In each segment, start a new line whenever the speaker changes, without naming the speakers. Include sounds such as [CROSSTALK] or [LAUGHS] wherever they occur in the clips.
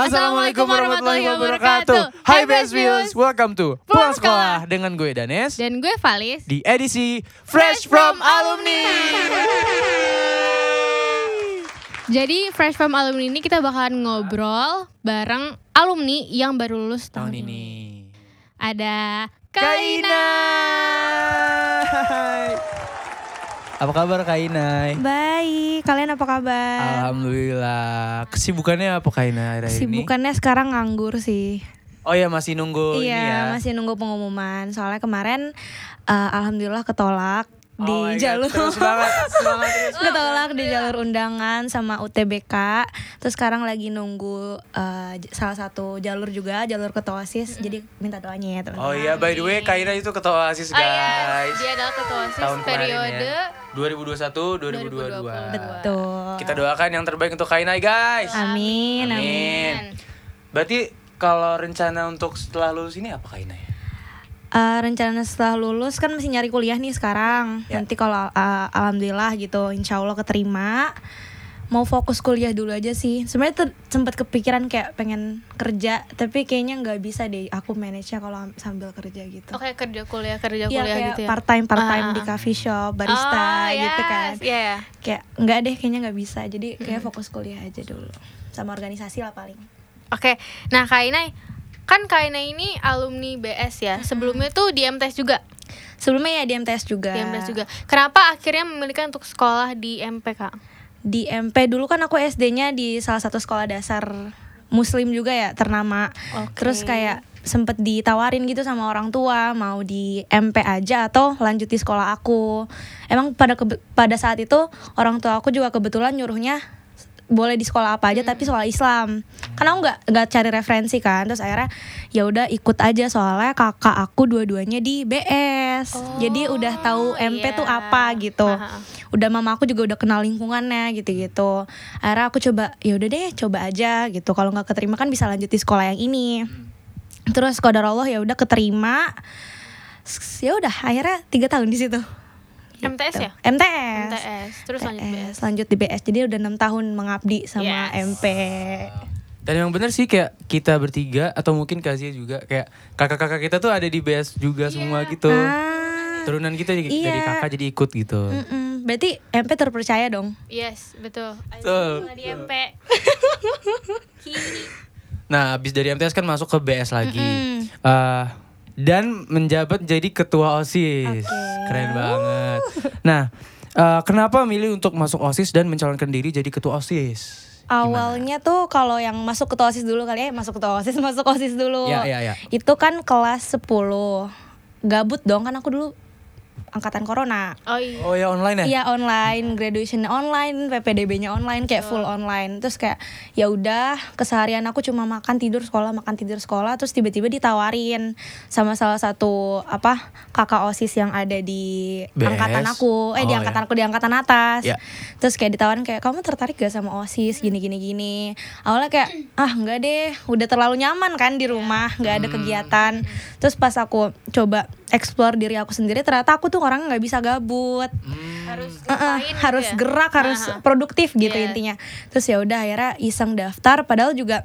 Assalamualaikum warahmatullahi wabarakatuh. Hai Best Views, welcome to Pulang Sekolah dengan gue Danes
Dan gue Valis.
di edisi Fresh From Alumni.
Jadi Fresh From Alumni ini kita bakalan ngobrol bareng alumni yang baru lulus
[LAUGHS] Tahun
tahun,
ini.
Ada
Kaina.
Kaina.
Apa kabar Kaina?
Baik, kalian apa kabar?
Alhamdulillah. Kesibukannya apa Kaina hari ini?
Sibukannya sekarang nganggur sih.
Oh ya masih nunggu ini ya.
iya, masih nunggu pengumuman. Soalnya kemarin eh, alhamdulillah ketolak
Oh my God,
di jalur
terus
[LAUGHS]
[LAUGHS] banget, Iya. semangat terus.
ketolak di jalur undangan sama UTBK. Terus sekarang lagi nunggu eh, j- salah satu jalur juga, jalur ketua OSIS. Jadi minta doanya ya, teman.
Oh iya, by the way Kaina itu ketua OSIS guys.
Oh iya, dia adalah ketua OSIS
Tahun kemarin
periode
ya. 2021 2022.
2022.
Betul.
iya. Kita doakan yang terbaik untuk Kaina guys.
Amin, amin.
Berarti kalau rencana untuk setelah lulus ini apa Kaina ya?
Eh, rencana setelah lulus kan masih nyari kuliah nih sekarang.
Ya.
Nanti kalau eh, alhamdulillah gitu, insya Allah keterima. Mau fokus kuliah dulu aja sih. Sebenarnya ter- sempat kepikiran kayak pengen kerja, tapi kayaknya nggak bisa deh. Aku manage-nya kalau am- sambil kerja gitu.
Oke, Oh, kerja kuliah, kerja
Iya,
kuliah
kayak
gitu ya.
part time part time
Ah,
di
ah.
coffee shop, barista
Oh,
gitu
yes,
kan.
Iya, iya.
Kayak nggak deh, kayaknya nggak bisa. Jadi kayak fokus kuliah aja dulu sama organisasi lah paling.
Oke. Nah, Kaina kan Kaina ini alumni BS ya. Sebelumnya tuh di MTS juga.
Sebelumnya ya di MTS juga.
Di MTS juga. Kenapa akhirnya memilihkan untuk sekolah di MPK?
di MP dulu kan aku SD-nya di salah satu sekolah dasar muslim juga ya ternama.
Oke.
Terus kayak sempet ditawarin gitu sama orang tua mau di MP aja atau lanjut di sekolah aku. Emang pada kebe- pada saat itu orang tua aku juga kebetulan nyuruhnya s- boleh di sekolah apa aja tapi
Hmm.
sekolah Islam. Karena aku nggak nggak cari referensi kan. Terus akhirnya ya udah ikut aja soalnya kakak aku dua-duanya di BS. Jadi udah tahu MP tuh
Oh, iya.
apa gitu
Aha.
udah mama aku juga udah kenal lingkungannya gitu-gitu akhirnya aku coba ya udah deh coba aja gitu kalau nggak keterima kan bisa lanjut di sekolah yang ini
Hmm.
terus kodar Allah ya udah keterima S- ya udah akhirnya tiga tahun di situ Gitu.
MTS
Iya.
ya?
MTS
MTS. Terus lanjut BS.
BS, lanjut di BS jadi udah enam tahun mengabdi sama
Yes.
MP
Dan yang bener sih kayak kita bertiga atau mungkin Kazia juga kayak kakak-kakak kita tuh ada di BS juga
Iya.
semua gitu.
ah
Turunan kita jadi
Iya.
dari kakak jadi ikut gitu.
mm-mm. berarti MP terpercaya dong
Yes, betul.
Betul.
Sekolah di MP.
Nah, abis dari MTS kan masuk ke BS lagi.
Mm-mm.
Eh, dan menjabat jadi ketua OSIS. Keren banget. Nah, eh, kenapa milih untuk masuk OSIS dan mencalonkan diri jadi ketua OSIS?
Awalnya tuh kalau yang masuk ke OSIS dulu kali ya, masuk ke OSIS, [LAUGHS] masuk OSIS dulu.
Ya, ya, ya.
Itu kan kelas 10. Gabut dong kan aku dulu angkatan corona.
Oh iya.
Oh ya online ya?
Iya online, graduation online, PPDB-nya online kayak full online. Terus kayak ya udah keseharian aku cuma makan tidur sekolah, makan tidur sekolah terus tiba-tiba ditawarin sama salah satu apa kakak OSIS yang ada di
BS?
angkatan aku. Eh di
Oh,
angkatan
ya.
aku di angkatan atas.
Ya.
Terus kayak ditawarin kayak kamu tertarik gak sama OSIS gini gini gini. Awalnya kayak ah enggak deh, udah terlalu nyaman kan di rumah, nggak
Hmm.
ada kegiatan. Terus pas aku coba explore diri aku sendiri ternyata aku tuh orang nggak bisa gabut.
Hmm.
Harus
Heeh,
ngapain gitu
harus
ya? Iya.
gerak harus produktif gitu
Yes.
intinya terus ya udah akhirnya iseng daftar padahal juga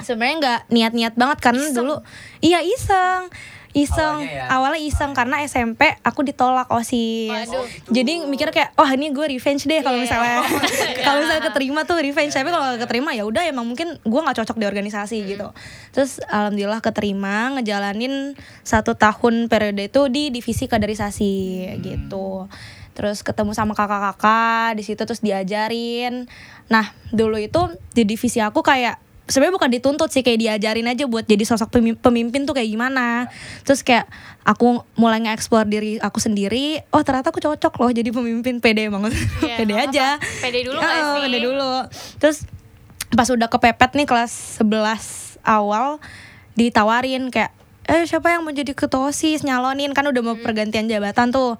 sebenarnya nggak niat-niat banget karena dulu iya iseng iseng
Awalnya ya?
awalnya, iseng karena SMP aku ditolak osis
Waduh.
jadi mikir kayak wah ini gue revenge deh kalau
Iya.
misalnya [LAUGHS] kalau misalnya keterima tuh revenge tapi kalau nggak keterima ya udah emang mungkin gue nggak cocok di organisasi gitu terus alhamdulillah keterima ngejalanin satu tahun periode itu di divisi kaderisasi gitu terus ketemu sama kakak-kakak di situ terus diajarin nah dulu itu di divisi aku kayak sebenarnya bukan dituntut sih kayak diajarin aja buat jadi sosok pemi- pemimpin tuh kayak gimana terus kayak aku mulai nge-explore diri aku sendiri oh ternyata aku cocok loh jadi pemimpin pede banget
Iya,
[LAUGHS] pede
nggak
aja
apa-apa. Pede dulu nggak
Heeh,
sih?
pede dulu terus pas udah kepepet nih kelas 11 awal ditawarin kayak
Hmm.
eh
Iya.
siapa yang mau jadi ketua OSIS nyalonin kan udah mau pergantian jabatan tuh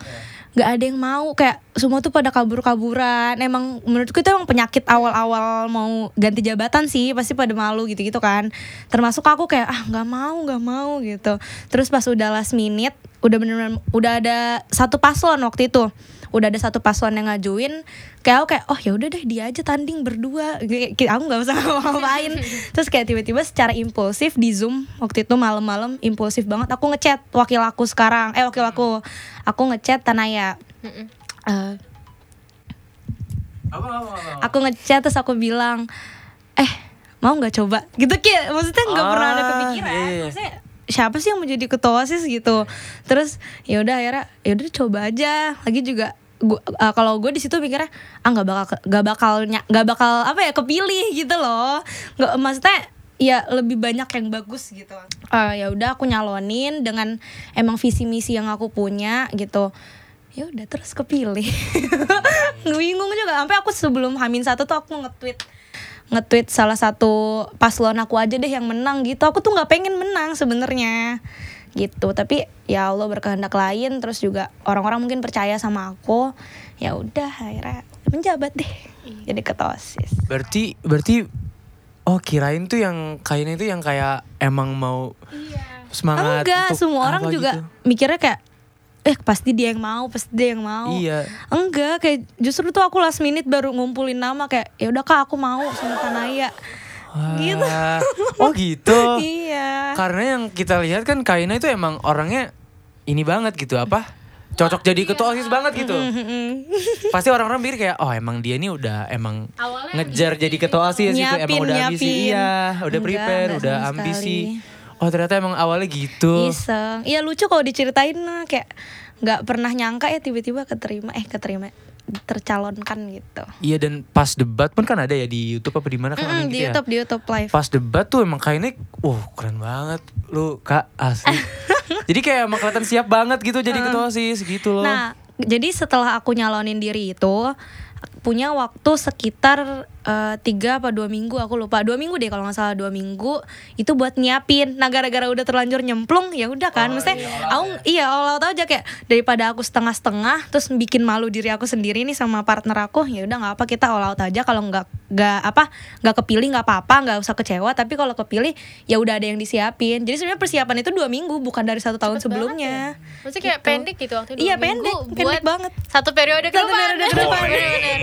nggak ada yang mau kayak semua tuh pada kabur-kaburan. Emang menurutku itu emang penyakit awal-awal mau ganti jabatan sih, pasti pada malu gitu-gitu kan. Termasuk aku kayak ah nggak mau nggak mau gitu. Terus pas udah last minute, udah bener-bener udah ada satu paslon waktu itu. Udah ada satu paslon yang ngajuin, kayak aku kayak oh ya udah deh dia aja tanding berdua. Kayak- kayak Aku [LAUGHS] nggak usah ngapain. Terus kayak tiba-tiba secara impulsif di zoom waktu itu malam-malam impulsif banget aku ngechat wakil aku sekarang, eh wakil aku, aku ngechat Tanaya. Eh,
Apa, apa, apa, apa?
aku ngechat terus aku bilang eh mau nggak coba gitu ki maksudnya nggak pernah ada
Ah,
kepikiran
iya, iya.
Maksudnya, siapa sih yang mau jadi ketua osis gitu terus ya udah akhirnya ya udah coba aja lagi juga gua- eh, kalau gue di situ mikirnya ah nggak bakal ke- nggak bakal nya- nggak bakal apa ya kepilih gitu loh nggak maksudnya ya lebih banyak yang bagus gitu Eh, ya udah aku nyalonin dengan emang visi misi yang aku punya gitu ya udah terus kepilih [LAUGHS] bingung juga sampai aku sebelum Hamin satu tuh aku nge-tweet nge-tweet salah satu paslon aku aja deh yang menang gitu aku tuh nggak pengen menang sebenarnya gitu tapi ya Allah berkehendak lain terus juga orang-orang mungkin percaya sama aku ya udah akhirnya menjabat deh jadi ketua OSIS
Berarti berarti oh kirain tuh yang kainnya itu yang kayak emang mau semangat
Iya. enggak
untuk
semua orang
apa
juga
gitu.
mikirnya kayak eh pasti dia yang mau pasti dia yang mau
Iya.
enggak kayak justru tuh aku last minute baru ngumpulin nama kayak ya udah kak aku mau sama Tanaya
Wah.
Gitu.
Oh gitu.
[LAUGHS] iya
Karena yang kita lihat kan Kaina itu emang orangnya ini banget gitu apa? Cocok jadi
Iya.
ketua OSIS banget gitu. Pasti orang-orang mikir kayak oh emang dia ini udah emang
Awalnya
ngejar jadi ketua OSIS gitu
Nyiapin,
emang udah ambisi.
nyiapin.
Iya, udah
Enggak,
prepare,
enggak
udah
sama
ambisi.
sekali.
Oh ternyata emang awalnya gitu.
iseng iya lucu kalau diceritain nah, kayak nggak pernah nyangka ya tiba-tiba keterima eh keterima tercalonkan gitu
Iya dan pas debat pun kan ada ya di YouTube apa di mana kan ada
Mm-mm,
gitu
di
ya.
YouTube di YouTube live
Pas debat tuh emang kayaknya wah keren banget lu Kak
[LAUGHS]
asli. jadi kayak emang kelihatan siap banget gitu jadi ketua OSIS gitu loh.
Mm. Nah, jadi setelah aku nyalonin diri itu punya waktu sekitar eh, tiga apa dua minggu aku lupa dua minggu deh kalau nggak salah dua minggu itu buat nyiapin nah gara-gara udah terlanjur nyemplung ya udah kan maksudnya aku iya Allah tahu aja kayak daripada aku setengah-setengah terus bikin malu diri aku sendiri nih sama partner aku ya udah nggak apa kita all out aja kalau nggak nggak apa nggak kepilih nggak apa-apa nggak usah kecewa tapi kalau kepilih ya udah ada yang disiapin jadi sebenarnya persiapan itu dua minggu bukan dari satu tahun sebelumnya
Maksudnya kayak
Gitu.
pendek gitu waktu dua
Iya,
minggu
pendek,
buat
pendek banget.
Satu periode ke
Satu
depan.
periode ke depan.
Bener-bener.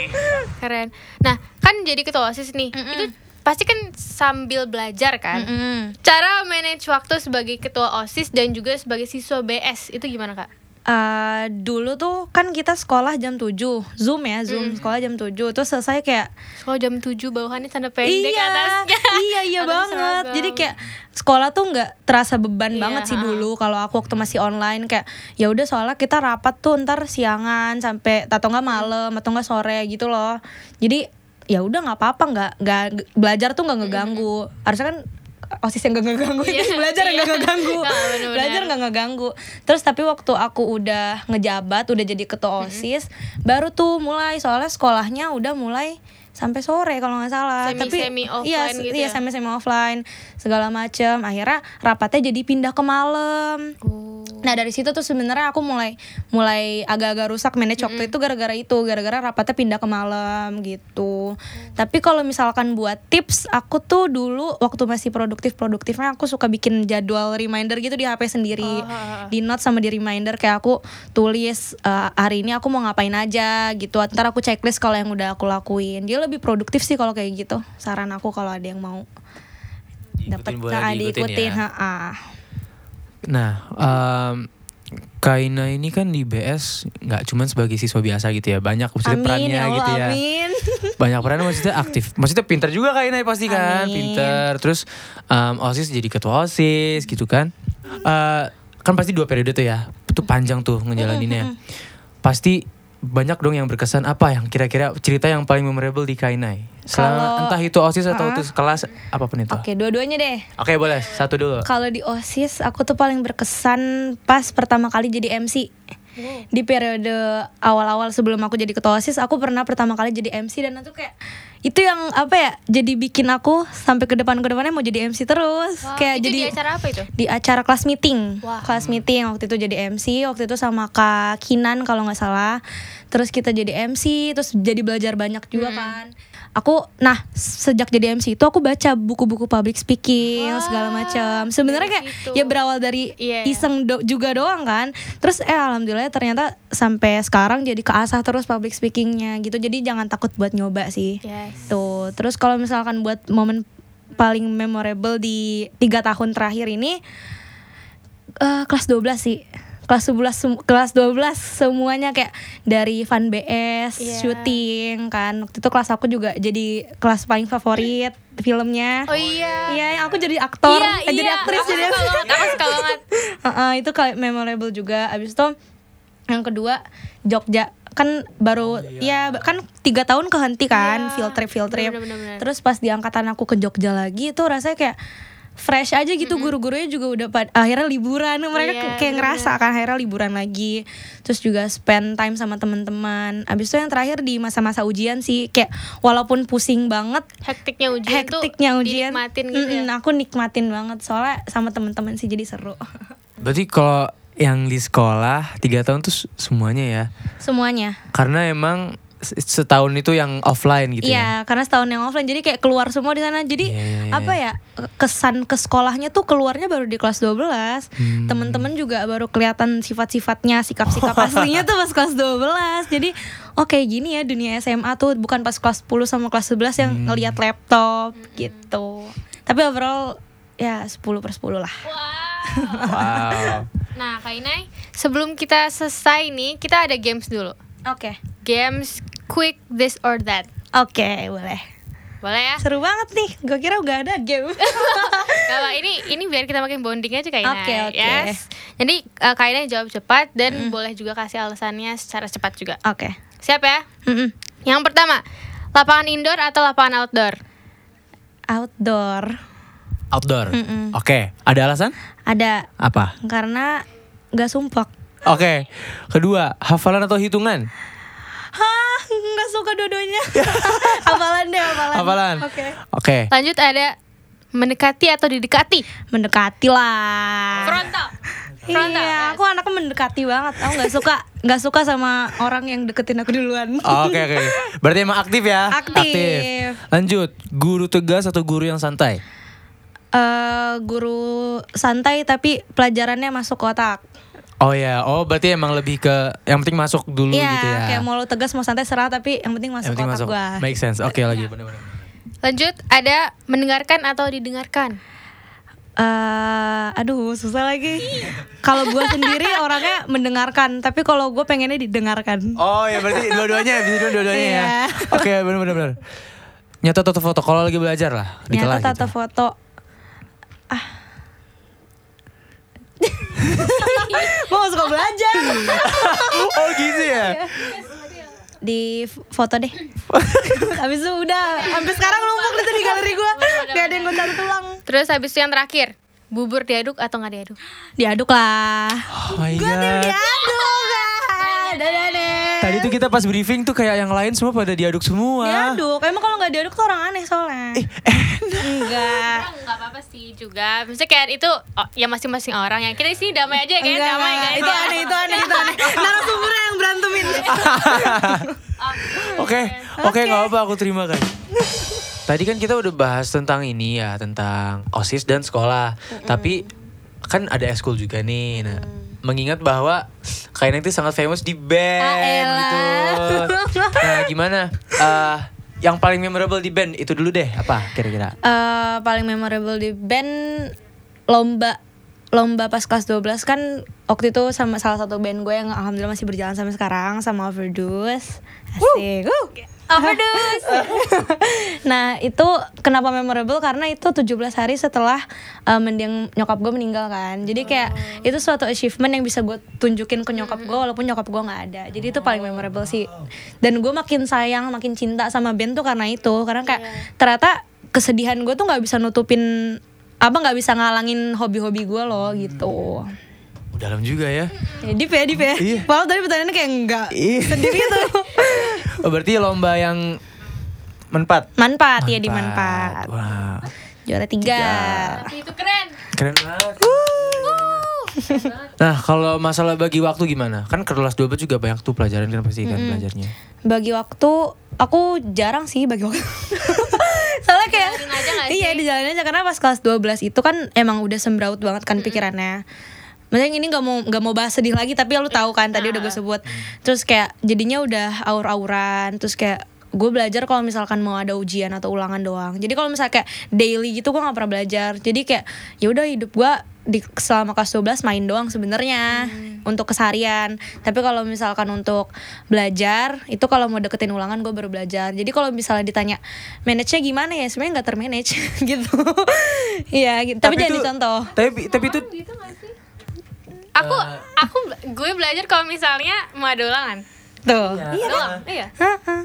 Keren. Nah, kan jadi ketua OSIS nih. Itu pasti kan sambil belajar kan.
Hmm.
Cara manage waktu sebagai ketua OSIS dan juga sebagai siswa BS itu gimana, Kak?
Eh, dulu tuh kan kita sekolah jam 7 Zoom ya, Zoom sekolah jam 7 Terus selesai kayak
Sekolah jam 7 bawahannya tanda pendek
Iya,
atasnya.
[LAUGHS] iya, iya
[LAUGHS] Atasnya
banget
seragam.
Jadi kayak sekolah tuh nggak terasa beban
Iya,
banget sih
ha-ha.
dulu Kalau aku waktu masih online kayak ya udah soalnya kita rapat tuh ntar siangan Sampai atau nggak malam atau nggak sore gitu loh Jadi ya udah nggak apa-apa nggak nggak belajar tuh nggak ngeganggu harusnya kan osis yang nggak ngeganggu itu
Iya,
[LAUGHS] belajar yang nggak
iya.
ngeganggu
Nah, bener-bener.
belajar nggak ngeganggu terus tapi waktu aku udah ngejabat udah jadi ketua osis baru tuh mulai soalnya sekolahnya udah mulai sampai sore kalau nggak salah
Semi-
tapi
semi
iya
offline
se-
gitu
iya
ya?
semi semi offline segala macem akhirnya rapatnya jadi pindah ke malam
Oh.
Nah dari situ tuh sebenarnya aku mulai mulai agak-agak rusak manage waktu itu gara-gara itu gara-gara rapatnya pindah ke malam gitu. Tapi kalau misalkan buat tips, aku tuh dulu waktu masih produktif produktifnya aku suka bikin jadwal reminder gitu di HP sendiri,
Oh,
di note sama di reminder kayak aku tulis eh, hari ini aku mau ngapain aja gitu. Ntar aku checklist kalau yang udah aku lakuin. Dia lebih produktif sih kalau kayak gitu. Saran aku kalau ada yang mau dapat
Diikutin boleh
nah,
diikutin
diikutin. ah.
ya.
ha-ah.
Nah, em, Kaina ini kan di BS nggak cuman sebagai siswa biasa gitu ya, banyak maksudnya
Amin
perannya
ya Allah,
gitu ya.
amin. [LAUGHS]
Banyak perannya maksudnya aktif. Maksudnya pintar juga Kaina pasti kan,
Amin.
pintar. Terus em, OSIS jadi ketua OSIS gitu kan. Eh, kan pasti dua periode tuh ya. Itu panjang tuh ngejalaninnya. Pasti banyak dong yang berkesan apa yang kira-kira cerita yang paling memorable di Kainai
Kalau-
selama entah itu osis atau itu kelas apapun itu oke
Oke, dua-duanya deh.
boleh satu dulu
Kalau di OSIS aku tuh paling berkesan pas pertama kali jadi MC.
Oh.
Di periode awal-awal sebelum aku jadi ketua OSIS, aku pernah pertama kali jadi MC dan itu kayak itu yang apa ya jadi bikin aku sampai ke depan ke depannya mau jadi MC terus
Wow,
kayak
itu
jadi
di acara apa itu?
di acara kelas meeting
gitu. Wah.
kelas meeting waktu itu jadi MC waktu itu sama kak Kinan kalau nggak salah terus kita jadi MC terus jadi belajar banyak juga
Hmm.
kan aku nah sejak jadi MC itu aku baca buku-buku public speaking
Wah,
segala macam sebenarnya
dari
kayak
situ.
ya berawal dari
Iya.
iseng do- juga doang kan terus eh alhamdulillah ternyata sampai sekarang jadi keasah terus public speakingnya gitu jadi jangan takut buat nyoba sih
Yes.
Tuh, terus kalau misalkan buat momen paling memorable di tiga tahun terakhir ini eh kelas 12 sih. Kelas 11 sem- kelas 12 semuanya kayak dari fan BS,
Iya.
syuting kan. Waktu itu kelas aku juga jadi kelas paling favorit filmnya.
Oh iya.
Iya, yang aku jadi aktor, eh, jadi aktris
aku
jadi
suka banget, aku suka banget.
[LAUGHS] Heeh, itu kayak memorable juga. Abis itu yang kedua Jogja kan baru ya kan tiga tahun kehenti kan
Iya,
field trip field trip.
bener, bener, bener.
Terus pas di angkatan aku ke Jogja lagi itu rasanya kayak fresh aja gitu guru-gurunya juga udah pad- akhirnya liburan mereka
Iya,
ke- kayak
bener-bener.
ngerasa kan akhirnya liburan lagi terus juga spend time sama teman-teman abis itu yang terakhir di masa-masa ujian sih kayak walaupun pusing banget
Hektiknya ujian tuh
hektiknya ujian
dinikmatin gitu ya.
Mm-mm, nah. aku nikmatin banget soalnya sama teman-teman sih jadi seru [LAUGHS]
Berarti kalau yang di sekolah tiga tahun tuh s- semuanya ya.
semuanya
Karena emang se- setahun itu yang offline gitu ya.
Iya, karena setahun yang offline jadi kayak keluar semua di sana. Jadi
Iya, iya, iya.
apa ya? Kesan ke sekolahnya tuh keluarnya baru di kelas 12.
Hmm.
Temen-temen juga baru kelihatan sifat-sifatnya, sikap-sikap aslinya tuh pas kelas 12. Jadi oke gini ya dunia SMA tuh bukan pas kelas 10 sama kelas 11 yang
Hmm.
ngelihat laptop gitu. Tapi overall ya 10 per 10 lah.
Wow.
Wow.
Nah, Kak Inai, sebelum kita selesai nih, kita ada games dulu.
Oke.
Games quick this or that.
Oke, boleh.
Boleh ya?
Seru banget nih. Gue kira udah ada game.
Kalau ini ini biar kita makin bonding aja Kak Inai.
Oke, oke.
Yes. Jadi eh, Kak Inai jawab cepat dan boleh juga kasih alasannya secara cepat juga.
Oke.
Siap ya?
Mm-mm.
Yang pertama, lapangan indoor atau lapangan outdoor?
Outdoor.
Outdoor. Oke, ada alasan?
Ada
Apa?
karena nggak sumpah
Oke. Kedua, hafalan atau hitungan?
hah nggak suka [LAUGHS] dua-duanya hafalan deh hafalan
Hafalan.
oke
Oke.
Lanjut ada mendekati atau didekati?
mendekati lah
Frontal. Frontal.
iya aku anaknya mendekati banget aku nggak suka nggak suka sama orang yang deketin aku duluan
Oke oke. Berarti emang aktif ya?
Aktif.
Lanjut, guru tegas atau guru yang santai?
Eh, guru santai tapi pelajarannya masuk kotak
Oh ya, oh berarti emang lebih ke yang penting masuk dulu
iya
gitu ya.
kayak mau lo tegas mau santai serah tapi yang penting
yang
masuk
penting
kotak
masuk.
gua Iya.
Make sense. Oke lagi benar-benar.
Lanjut ada mendengarkan atau didengarkan?
Eh, aduh susah lagi kalau gue sendiri orangnya mendengarkan tapi kalau gue pengennya didengarkan
Oh ya berarti
[LAUGHS]
dua-duanya bisa dua- dua-duanya ya.
Iya.
Oke benar-benar. Nyata atau foto kalau lagi belajar lah di
Nyata
kelas.
tata
gitu.
foto [LAUGHS] ah gue gak suka belajar
oh gitu ya.
Iya. di f- foto deh habis itu udah sampai sekarang numpuk itu di galeri gue gak ada yang gue cari tulang
Terus habis itu yang terakhir, bubur diaduk atau nggak diaduk?
diaduk lah
Oh my
gue tim
God.
diaduk ah. dadah deh
Tadi tuh kita pas briefing tuh kayak yang lain semua pada diaduk semua. Eh,
diaduk emang kalau nggak diaduk tuh orang aneh soalnya enggak
Enggak apa-apa sih juga. Maksudnya kayak itu oh, ya masing-masing orang ya. Kita di sini damai aja guys,
Enggak,
damai
enggak.
guys.
Itu aneh, itu aneh, itu aneh. Narasumbernya yang berantemin.
[LAUGHS] Oke, oke nggak apa aku terima kan. Tadi kan kita udah bahas tentang ini ya tentang osis dan sekolah. Tapi kan ada ekskul juga nih. Nah, mengingat bahwa Kaina itu sangat famous di band
Ah,
gitu.
elah.
Nah gimana? Eh, yang paling memorable di band itu dulu deh apa kira-kira?
Eh, paling memorable di band lomba lomba pas kelas 12 kan waktu itu sama salah satu band gue yang alhamdulillah masih berjalan sampai sekarang sama Overdose. Asik. Woo.
Overdose.
[LAUGHS] nah itu kenapa memorable karena itu 17 hari setelah uh, mendiang nyokap gue meninggal kan jadi kayak itu suatu achievement yang bisa gue tunjukin ke nyokap gue walaupun nyokap gue nggak ada jadi itu paling memorable sih dan gue makin sayang makin cinta sama band tuh karena itu karena kayak ternyata kesedihan gue tuh nggak bisa nutupin apa nggak bisa ngalangin hobi-hobi gue loh gitu
Udah Dalam juga ya.
ya, deep ya deep ya
Iya.
Wow, tadi pertanyaannya kayak enggak
Ih.
gitu
Oh, Berarti lomba yang Manpat.
Manpat, ya di Manpat.
Wah,
Juara tiga.
Tapi [LAUGHS] itu keren.
keren banget. Nah, kalau masalah bagi waktu gimana? Kan kelas 12 juga banyak tuh pelajaran kan pasti kan belajarnya.
Bagi waktu aku jarang sih bagi
[LAUGHS]
waktu. Soalnya kayak
Dijalanin aja nggak
Iya,
sih?
dijalanin aja karena pas kelas 12 itu kan emang udah sembraut banget kan pikirannya. Maksudnya yang ini gak mau nggak mau bahas sedih lagi tapi lu tahu kan tadi udah
Ah.
gue sebut. Terus kayak jadinya udah aur-auran, terus kayak gue belajar kalau misalkan mau ada ujian atau ulangan doang. Jadi kalau misalnya kayak daily gitu gue nggak pernah belajar. Jadi kayak ya udah hidup gue di selama kelas 12 main doang sebenarnya untuk keseharian. Tapi kalau misalkan untuk belajar itu kalau mau deketin ulangan gue baru belajar. Jadi kalau misalnya ditanya manage-nya gimana ya sebenarnya nggak termanage [LAUGHS] gitu. Iya, gitu. tapi, jadi
itu-
contoh.
Tapi tapi itu
Aku aku gue belajar kalau misalnya mau ada ulangan.
Tuh.
Iya dong. Iya.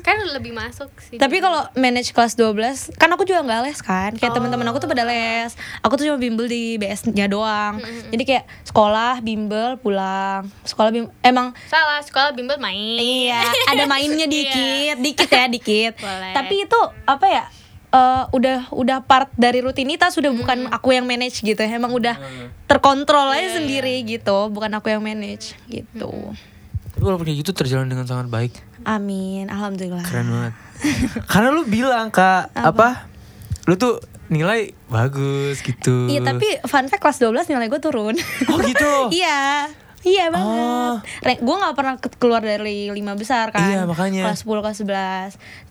Kan lebih masuk sih.
Tapi kalau manage kelas 12 Kan aku juga nggak les kan Kayak teman-teman aku tuh pada les Aku tuh cuma bimbel di BS-nya doang Jadi kayak sekolah, bimbel, pulang Sekolah, bimbel Emang
salah sekolah bimbel main.
Iya Ada mainnya dikit Dikit ya, dikit
Boleh.
Tapi itu apa ya eh, udah udah part dari rutinitas sudah bukan aku yang manage gitu emang udah
Hmm.
terkontrol aja sendiri gitu bukan aku yang manage gitu
tapi walaupun kayak gitu terjalan dengan sangat baik.
amin alhamdulillah
Keren banget. Karena lu bilang, Kak, apa? Lu tuh nilai bagus gitu.
Iya tapi fun fact kelas 12 nilai gue turun
Oh, gitu?
[LAUGHS] Iya Iya
Oh.
banget Gue gak pernah ke- keluar dari lima besar kan
Iya, makanya.
Kelas 10, kelas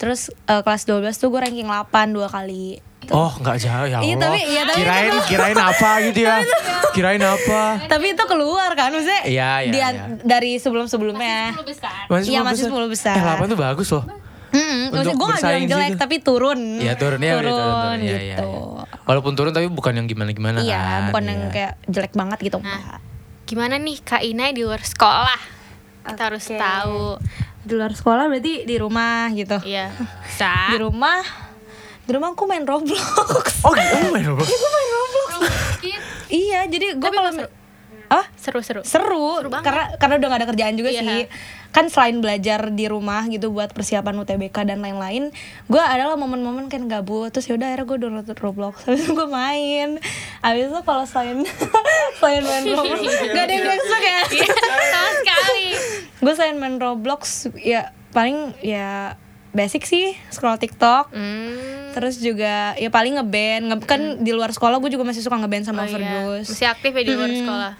11 Terus eh, kelas 12 tuh gue ranking 8 dua kali
Oh, nggak jauh ya Allah.
Iya, tapi- iya, tapi-
kirain kirain apa gitu ya? kirain apa?
Tapi itu keluar kan Maksudnya
Iya, iya,
dia,
iya.
dari sebelum-sebelumnya
Sepuluh besar.
Masih
Iya,
10
masih 10 besar.
Eh, 8 tuh bagus loh.
hmm,
Untuk
Gue gak
bersaing
bilang jelek
situ.
tapi turun
Iya turun ya udah
Mm, Turun,
turun, turun. Iya, iya,
gitu
iya. Walaupun turun tapi bukan yang gimana-gimana
Iya
kan.
bukan yang
Iya.
kayak jelek banget gitu
Nah.
enggak.
Gimana nih Kak Ina di luar sekolah? Kita harus
Oke.
tahu.
Di luar sekolah berarti di rumah gitu
Iya.
Di
Sa.
rumah Di rumah aku main Roblox
Oh, gitu. Oh, main
[LAUGHS]
Roblox.
Iya, jadi gue
Tapi
kalau
seru.
ah
Seru-seru.
seru,
banget.
karena karena udah gak ada kerjaan juga
Iya.
sih. Kan selain belajar di rumah gitu buat persiapan UTBK dan lain-lain, gue adalah momen-momen kan gabut terus yaudah akhirnya gue download Roblox, [LAUGHS] habis itu gue main. Habis itu kalau selain [LAUGHS] selain
[LAUGHS]
main Roblox, gak ada yang
Iya.
masuk ya.
Sama sekali.
gue selain main Roblox ya paling ya basic sih scroll TikTok.
Hmm.
Terus juga ya paling ngeband, nge kan di luar sekolah gue juga masih suka ngeband
Oh
sama
iya.
overdose.
Masih aktif ya di luar sekolah.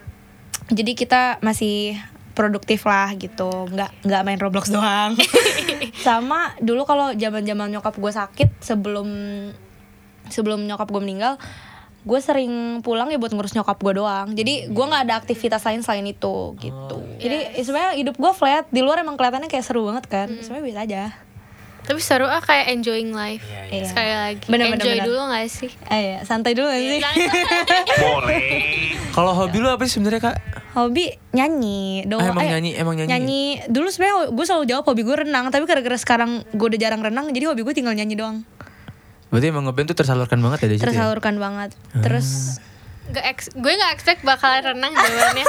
jadi kita masih produktif lah gitu nggak nggak main roblox [LAUGHS] doang sama dulu kalau zaman zaman nyokap gue sakit sebelum sebelum nyokap gue meninggal gue sering pulang ya buat ngurus nyokap gue doang jadi gue nggak ada aktivitas lain selain itu gitu jadi eh, sebenarnya hidup gue flat di luar emang kelihatannya kayak seru banget kan sebenarnya biasa aja
Tapi seru ah kayak enjoying life.
iya.
Sekali lagi.
Bener, bener,
Enjoy
bener.
dulu gak sih?
eh, iya, santai dulu aja sih
Kalau hobi lu apa sih sebenarnya, Kak?
hobi nyanyi doa
Ah,
eh,
emang nyanyi, emang nyanyi.
dulu sebenarnya gue selalu jawab hobi gue renang tapi gara-gara sekarang gue udah jarang renang jadi hobi gue tinggal nyanyi doang
Berarti emang ngeband tuh tersalurkan banget ya dari situ ya?
tersalurkan banget terus [LAUGHS]
Gak ex- gue gak expect bakalan renang jawabannya.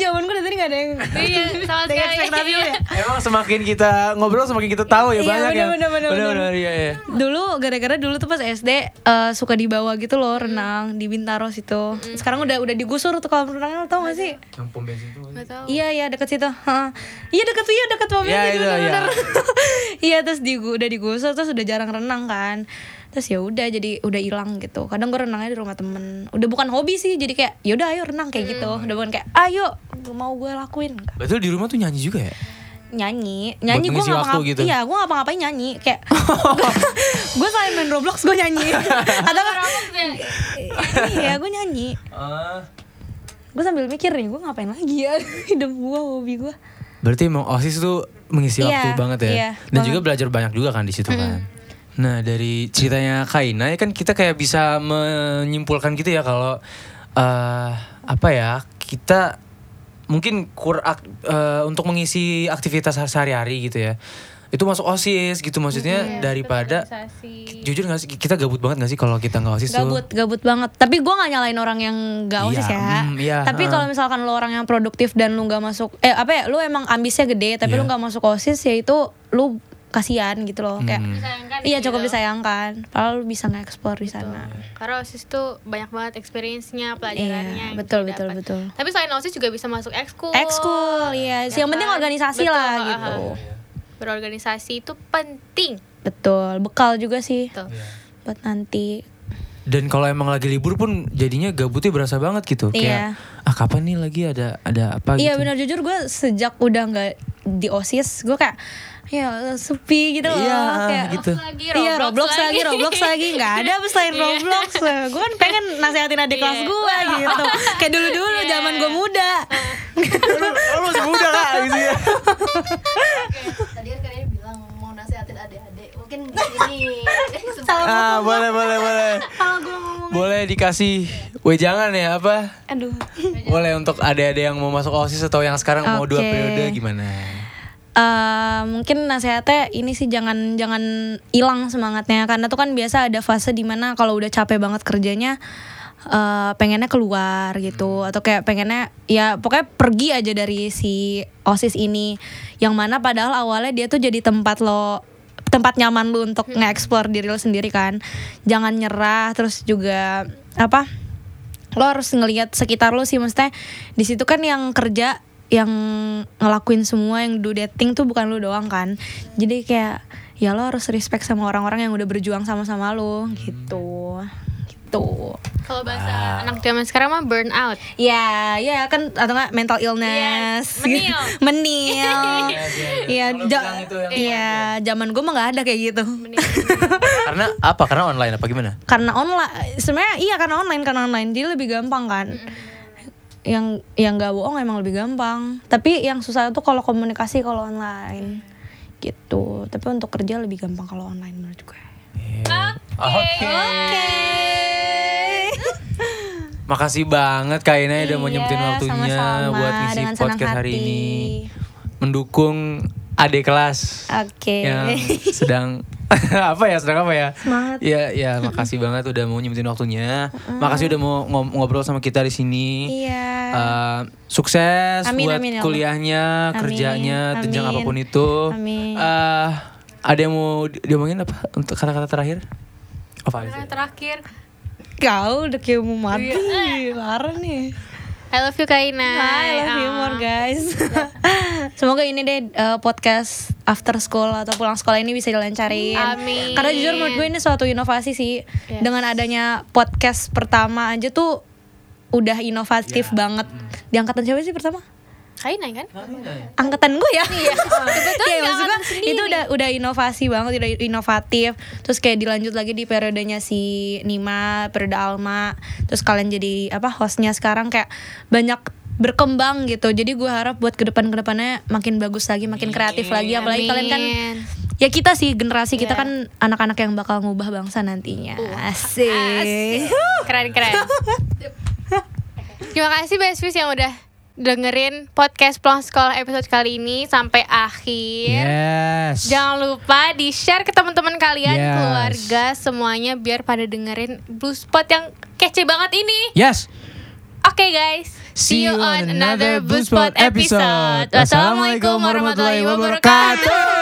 jawaban gue dari tadi gak ada
[LAUGHS]
yang
Iya, sama
ada yang
sekali.
ekspektasi
[LAUGHS]
lu ya
Emang semakin kita ngobrol semakin kita tahu ya
Iya,
banyak
bener,
ya.
bener, bener,
Bener-bener, iya, iya.
dulu gara-gara dulu tuh pas SD eh, suka dibawa gitu loh renang di Bintaro situ sekarang udah udah digusur tuh kolam renangnya lo tau gak sih
Yang pom bensin tuh.
Gak tahu.
Iya iya deket situ. Heeh. Iya deket iya deket pom
Iya,
bensin
itu, iya.
bener-bener. [LAUGHS] Iya terus di udah digusur terus udah jarang renang kan. Terus ya udah jadi udah hilang gitu. Kadang gue renangnya di rumah temen. Udah bukan hobi sih jadi kayak ya udah ayo renang kayak gitu. Udah bukan kayak ayo mau gue lakuin
Betul di rumah tuh nyanyi juga ya?
nyanyi nyanyi gue
ngisi
ngapa
waktu
ngapain
gitu.
iya gue ngapa ngapain nyanyi kayak [LAUGHS] gue selain main roblox gue
[LAUGHS]
nyanyi atau iya gue nyanyi
Eh,
gue sambil mikir nih gue ngapain lagi ya [LAUGHS] hidup gue hobi gue
Berarti emang OSIS tuh mengisi
Iya,
waktu banget ya.
iya,
Dan
banget.
juga belajar banyak juga kan di situ kan. Nah, dari ceritanya Kaina ya kan kita kayak bisa menyimpulkan gitu ya kalau eh apa ya, kita mungkin kur ak- eh, untuk mengisi aktivitas sehari-hari gitu ya. Itu masuk OSIS gitu
Iya,
maksudnya daripada jujur gak sih kita gabut banget gak sih kalau kita nggak OSIS tuh?
gabut gabut banget tapi gue nggak nyalain orang yang gak
Iya,
osis ya
mm, iya,
tapi
ha.
kalau misalkan lo orang yang produktif dan lu nggak masuk eh apa ya lu emang ambisnya gede tapi
Iya.
lu nggak masuk osis ya itu lu kasihan gitu loh kayak
Hmm.
Disayangkan
iya
gitu.
cukup disayangkan padahal lu bisa nge-explore di sana
Karena OSIS tuh banyak banget experience-nya,
Iya,
pelajarannya. yang kita
betul, betul,
dapat.
betul.
Tapi selain OSIS juga bisa masuk ekskul.
ekskul iya yang
kan?
penting organisasi
Betul,
lah
ah,
gitu
Iya.
ah. Berorganisasi itu penting. gitu.
betul bekal juga sih
Betul.
buat nanti
Dan kalau emang lagi libur pun jadinya gabutnya berasa banget gitu.
Iya.
Kayak ah kapan nih lagi ada ada apa
Iya
gitu.
benar jujur gue sejak udah nggak di osis gue kayak ya sepi gitu loh
Iya,
kayak
gitu.
Roblox lagi,
iya
Roblox
Roblox lagi,
lagi.
Roblox lagi nggak ada apa
[LAUGHS]
selain
Iya.
Roblox. Gue kan pengen nasehatin adik
Iya.
kelas gue gitu. Kayak dulu
[LAUGHS] Iya.
dulu
Oh.
zaman gue muda.
lu, lu masih muda kak gitu ya.
Tadi kan kalian bilang mau nasihatin adik-adik. Mungkin ini
ah boleh boleh boleh. Boleh dikasih wejangan ya apa?
ya. Aduh.
Boleh untuk adik-adik yang mau masuk OSIS atau yang sekarang mau dua
Oke.
periode gimana?
Eh, mungkin nasihatnya ini sih jangan jangan hilang semangatnya karena tuh kan biasa ada fase dimana kalau udah capek banget kerjanya eh, pengennya keluar gitu atau kayak pengennya ya pokoknya pergi aja dari si osis ini yang mana padahal awalnya dia tuh jadi tempat lo tempat nyaman lu untuk nge-explore diri lo sendiri kan jangan nyerah terus juga apa lo harus ngelihat sekitar lo sih maksudnya di situ kan yang kerja yang ngelakuin semua yang do dating tuh bukan lo doang kan jadi kayak ya lo harus respect sama orang-orang yang udah berjuang sama-sama lo gitu gitu
Kalau bahasa anak zaman sekarang mah burn out.
ya ya kan atau nggak mental
Yes,
illness
menil.
[LAUGHS] menil
[LAUGHS]
iya.
Iya,
Kalau
ja-
bilang itu yang
iya, zaman gue mah nggak ada kayak gitu. [LAUGHS]
Karena apa? Karena online apa gimana?
karena online sebenarnya iya karena online karena online jadi lebih gampang kan yang yang nggak bohong emang lebih gampang tapi yang susah itu kalau komunikasi kalau online gitu tapi untuk kerja lebih gampang kalau online menurut gue
Oke. Makasih banget Kak Ina udah mau
Iya,
nyempetin waktunya
sama-sama.
buat ngisi
Dengan senang
podcast hari
hati.
ini. Mendukung adik kelas
oke
yang sedang [LAUGHS] apa ya sedang apa ya?
Semangat.
Ya ya makasih banget udah mau nyempetin waktunya. Makasih udah mau ngob- ngobrol sama kita di sini.
iya
Eh, sukses
Amin,
buat
amin, ya Allah.
kuliahnya,
Amin,
kerjanya, jenjang
amin,
apapun itu.
amin.
Eh, ada yang mau di- diomongin apa untuk kata-kata terakhir? Apa aja?
Nah, terakhir,
kau udah kayak mau mati parah nih
I love you Kaina. Ah.
Hai, I love you more guys. [LAUGHS] Semoga ini deh eh, podcast after school atau pulang sekolah ini bisa dilancarin.
Amin.
Karena jujur menurut gue ini suatu inovasi sih. Dengan adanya podcast pertama aja tuh udah inovatif banget. Di angkatan siapa sih pertama?
Kaina kan?
Angkatan gue ya. Iya. [LAUGHS]
di
maksud gue
angkatan sendiri.
itu udah udah inovasi banget, udah inovatif. Terus kayak dilanjut lagi di periodenya si Nima, periode Alma. Terus kalian jadi apa hostnya sekarang kayak banyak berkembang gitu. Jadi gue harap buat ke depan kedepannya makin bagus lagi, makin kreatif lagi. Apalagi kalian kan
Amin.
ya kita sih generasi kita kan anak-anak yang bakal ngubah bangsa nantinya. Asik.
keren keren terima kasih best Fish yang udah dengerin podcast pulang sekolah episode kali ini sampai akhir
Yes.
Jangan lupa di share ke teman-teman kalian,
Yes.
keluarga, semuanya biar pada dengerin blue spot yang kece banget ini.
Yes.
Oke guys, see you on another blue spot episode. Wassalamualaikum warahmatullahi wabarakatuh.